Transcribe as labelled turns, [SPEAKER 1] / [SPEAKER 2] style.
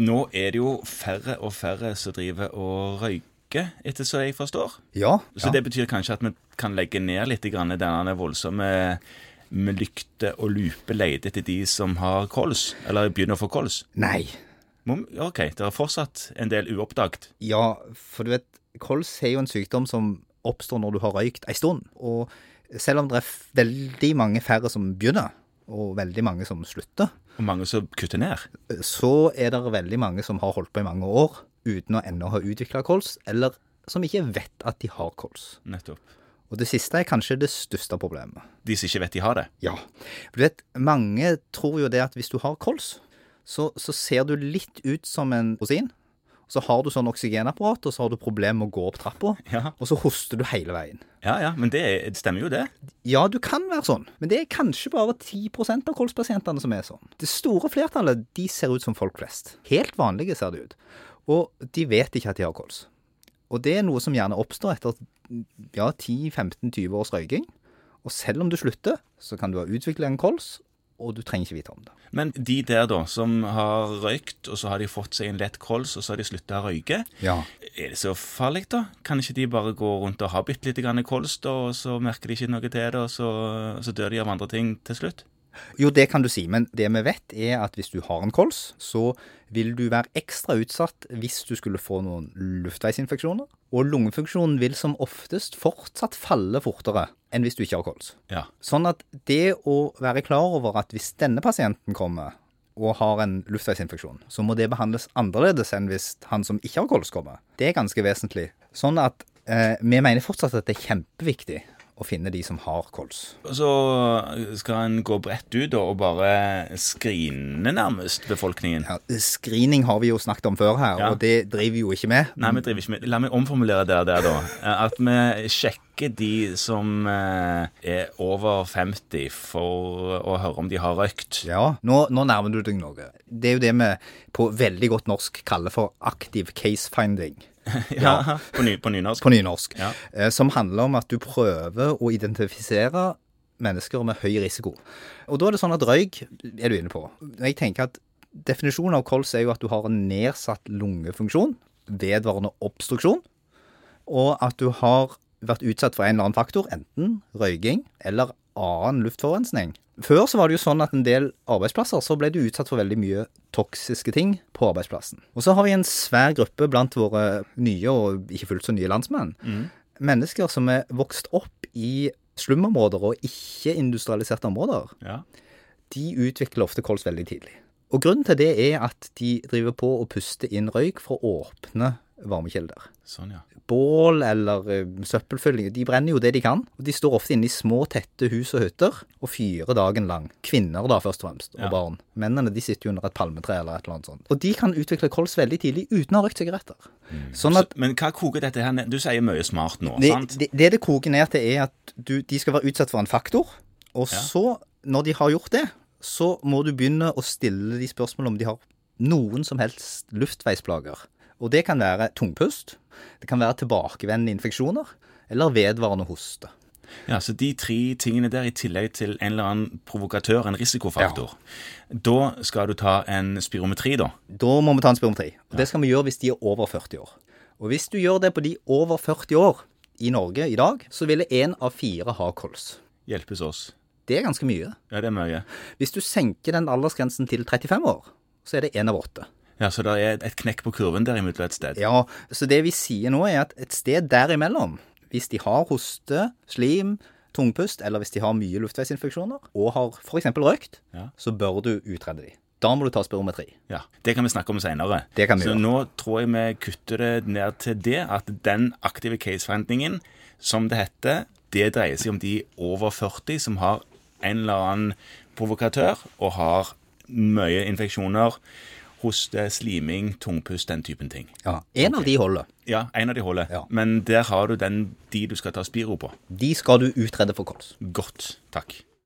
[SPEAKER 1] Nå er det jo færre og færre som driver og røyker, etter så jeg forstår.
[SPEAKER 2] Ja.
[SPEAKER 1] Så det betyr kanskje at vi kan legge ned litt grann denne voldsomme med lykte og lupe leide etter de som har kols, eller begynner å få kols.
[SPEAKER 2] Nei.
[SPEAKER 1] Må- ja, OK, det er fortsatt en del uoppdaget.
[SPEAKER 2] Ja, for du vet, kols er jo en sykdom som oppstår når du har røykt ei stund. Og selv om det er f- veldig mange færre som begynner, og veldig mange som slutter,
[SPEAKER 1] Og mange som kutter ned.
[SPEAKER 2] så er det veldig mange som har holdt på i mange år uten å ennå ha utvikla kols, eller som ikke vet at de har kols.
[SPEAKER 1] Nettopp.
[SPEAKER 2] Og det siste er kanskje det største problemet.
[SPEAKER 1] De som ikke vet de har det.
[SPEAKER 2] Ja. For du vet, mange tror jo det at hvis du har kols, så, så ser du litt ut som en rosin. Så har du sånn oksygenapparat, og så har du problemer med å gå opp trappa.
[SPEAKER 1] Ja.
[SPEAKER 2] Og så hoster du hele veien.
[SPEAKER 1] Ja, ja, men det, er- det stemmer jo, det.
[SPEAKER 2] Ja, du kan være sånn, men det er kanskje bare 10 av kolspasientene som er sånn. Det store flertallet de ser ut som folk flest. Helt vanlige ser de ut. Og de vet ikke at de har kols. Og det er noe som gjerne oppstår etter ja, 10-15-20 års røyking. Og selv om du slutter, så kan du ha utvikla en kols, og du trenger ikke vite om det.
[SPEAKER 1] Men de der, da, som har røykt, og så har de fått seg en lett kols, og så har de slutta å røyke.
[SPEAKER 2] Ja.
[SPEAKER 1] Er det så farlig, da? Kan ikke de bare gå rundt og ha bitte lite grann kols, da, og så merker de ikke noe til det, og så, så dør de av andre ting til slutt?
[SPEAKER 2] Jo, det kan du si, men det vi vet er at hvis du har en kols, så vil du være ekstra utsatt hvis du skulle få noen luftveisinfeksjoner. Og lungefunksjonen vil som oftest fortsatt falle fortere enn hvis du ikke har kols.
[SPEAKER 1] Ja.
[SPEAKER 2] Sånn at det å være klar over at hvis denne pasienten kommer og har en luftveisinfeksjon, så må det behandles annerledes enn hvis han som ikke har kols kommer. Det er ganske vesentlig. Sånn at eh, vi mener fortsatt at det er kjempeviktig å finne de som har kols.
[SPEAKER 1] Og så skal en gå bredt ut da, og bare skrine nærmest befolkningen.
[SPEAKER 2] Ja, screening har vi jo snakket om før her,
[SPEAKER 1] Ja.
[SPEAKER 2] og det driver vi jo ikke med.
[SPEAKER 1] Nei, vi driver ikke med La meg omformulere det der, da. Eh, At vi sjekker de som eh, er over 50 for å høre om de har røykt.
[SPEAKER 2] Ja, nå, nå nærmer du deg noe. Det er jo det vi på veldig godt norsk kaller for aktiv case finding
[SPEAKER 1] Ja, På, ny, på nynorsk.
[SPEAKER 2] på nynorsk.
[SPEAKER 1] Ja.
[SPEAKER 2] eh, Som handler om at du prøver å identifisere mennesker med høy risiko. Og da er det sånn at røyk er du inne på. Jeg tenker at definisjonen av kols er jo at du har en nedsatt lungefunksjon, vedvarende obstruksjon, og at du har vært utsatt for en eller annen faktor, enten røyking eller annen luftforurensning. Før så var det jo sånn at en del arbeidsplasser så ble du utsatt for veldig mye toksiske ting på arbeidsplassen. Og så har vi en svær gruppe blant våre nye og ikke fullt så nye landsmenn. Mennesker som er vokst opp i slumområder og ikke-industrialiserte områder
[SPEAKER 1] Ja.
[SPEAKER 2] de utvikler ofte kols veldig tidlig. Og grunnen til det er at de driver på og puster inn røyk fra åpne varmekilder.
[SPEAKER 1] Sånn, ja.
[SPEAKER 2] Bål eller eh, søppelfylling, de brenner jo det de kan. Og de står ofte inne i små, tette hus og hytter og fyrer dagen lang. Kvinner da, først og fremst, og
[SPEAKER 1] Ja.
[SPEAKER 2] barn. Mennene de sitter jo under et palmetre eller et eller annet sånt. Og de kan utvikle kols veldig tidlig uten å ha røykt sigaretter. Sånn
[SPEAKER 1] Mm. Så,
[SPEAKER 2] at
[SPEAKER 1] men hva koker dette her ned? Du sier mye smart nå,
[SPEAKER 2] det,
[SPEAKER 1] sant?
[SPEAKER 2] det, det det koker ned til, er at du, de skal være utsatt for en faktor. Og
[SPEAKER 1] Ja.
[SPEAKER 2] så, når de har gjort det, så må du begynne å stille de spørsmål om de har noen som helst luftveisplager. Og det kan være tungpust, det kan være tilbakevendende infeksjoner, eller vedvarende hoste.
[SPEAKER 1] Ja, så De tre tingene der, i tillegg til en eller annen provokatør, en risikofaktor. Da skal du ta en spirometri, da.
[SPEAKER 2] Da må vi ta en spirometri. Og det skal vi gjøre hvis de er over 40 år. Og hvis du gjør det på de over 40 år i Norge i dag, så ville én av fire ha kols.
[SPEAKER 1] Hjelpes oss.
[SPEAKER 2] Det er ganske mye.
[SPEAKER 1] Ja, det er mye.
[SPEAKER 2] Hvis du senker den aldersgrensen til 35 år, så er det én av åtte.
[SPEAKER 1] Ja, Så det er et knekk på kurven der imellom et sted.
[SPEAKER 2] Ja, så det vi sier nå er at et sted derimellom, hvis de har hoste, slim, tungpust, eller hvis de har mye luftveisinfeksjoner, og har f.eks. røykt,
[SPEAKER 1] Ja.
[SPEAKER 2] så bør du utrede de. Da må du ta spirometri.
[SPEAKER 1] Ja, Det kan vi snakke om seinere.
[SPEAKER 2] Det kan vi
[SPEAKER 1] Så
[SPEAKER 2] gjøre.
[SPEAKER 1] nå tror jeg vi kutter det ned til det at den aktive case-findingen, som det heter, det dreier seg om de over 40 som har en eller annen provokatør og har mye infeksjoner, hoste, sliming, tungpust, den typen ting.
[SPEAKER 2] Ja. En av de holder.
[SPEAKER 1] Ja, en av de holder.
[SPEAKER 2] Ja.
[SPEAKER 1] Men der har du den, de du skal ta Spiro på.
[SPEAKER 2] De skal du utrede for kols.
[SPEAKER 1] Godt. Takk.